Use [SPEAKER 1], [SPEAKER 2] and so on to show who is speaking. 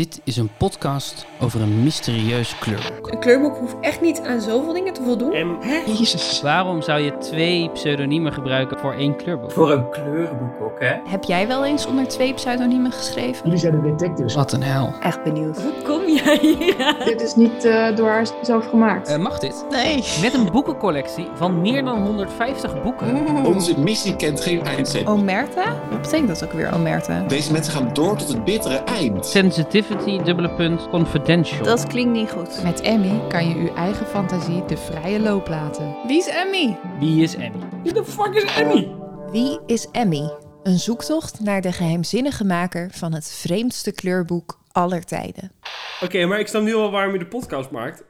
[SPEAKER 1] Dit is een podcast over een mysterieus kleurboek.
[SPEAKER 2] Een kleurboek hoeft echt niet aan zoveel dingen te voldoen.
[SPEAKER 3] En
[SPEAKER 4] Jezus.
[SPEAKER 1] Waarom zou je twee pseudoniemen gebruiken voor één kleurboek?
[SPEAKER 3] voor een kleurenboek ook, hè?
[SPEAKER 5] Heb jij wel eens onder twee pseudoniemen geschreven?
[SPEAKER 4] Jullie zijn de detectives.
[SPEAKER 1] Wat een hel.
[SPEAKER 6] Echt benieuwd.
[SPEAKER 2] Hoe kom jij hier aan?
[SPEAKER 7] Dit is niet eh, door haar zelf gemaakt.
[SPEAKER 1] Eh, mag dit?
[SPEAKER 4] Nee.
[SPEAKER 1] Met een boekencollectie van meer dan 150 boeken.
[SPEAKER 2] Mm.
[SPEAKER 8] Onze missie kent geen eindzin.
[SPEAKER 5] Omerta? Oh, Wat betekent dat ook weer, Omerta?
[SPEAKER 8] Deze mensen gaan door tot het bittere eind.
[SPEAKER 1] Sensitivity, dubbele punt, confidential.
[SPEAKER 2] Dat klinkt niet goed.
[SPEAKER 9] Met Emmy kan je uw eigen fantasie de vrije loop laten.
[SPEAKER 5] Wie is Emmy?
[SPEAKER 1] Wie is Emmy?
[SPEAKER 3] Wie de fuck is Emmy?
[SPEAKER 10] Wie is Emmy? Een zoektocht naar de geheimzinnige maker van het vreemdste kleurboek aller tijden.
[SPEAKER 3] Oké, maar ik snap nu al waarom je de podcast maakt.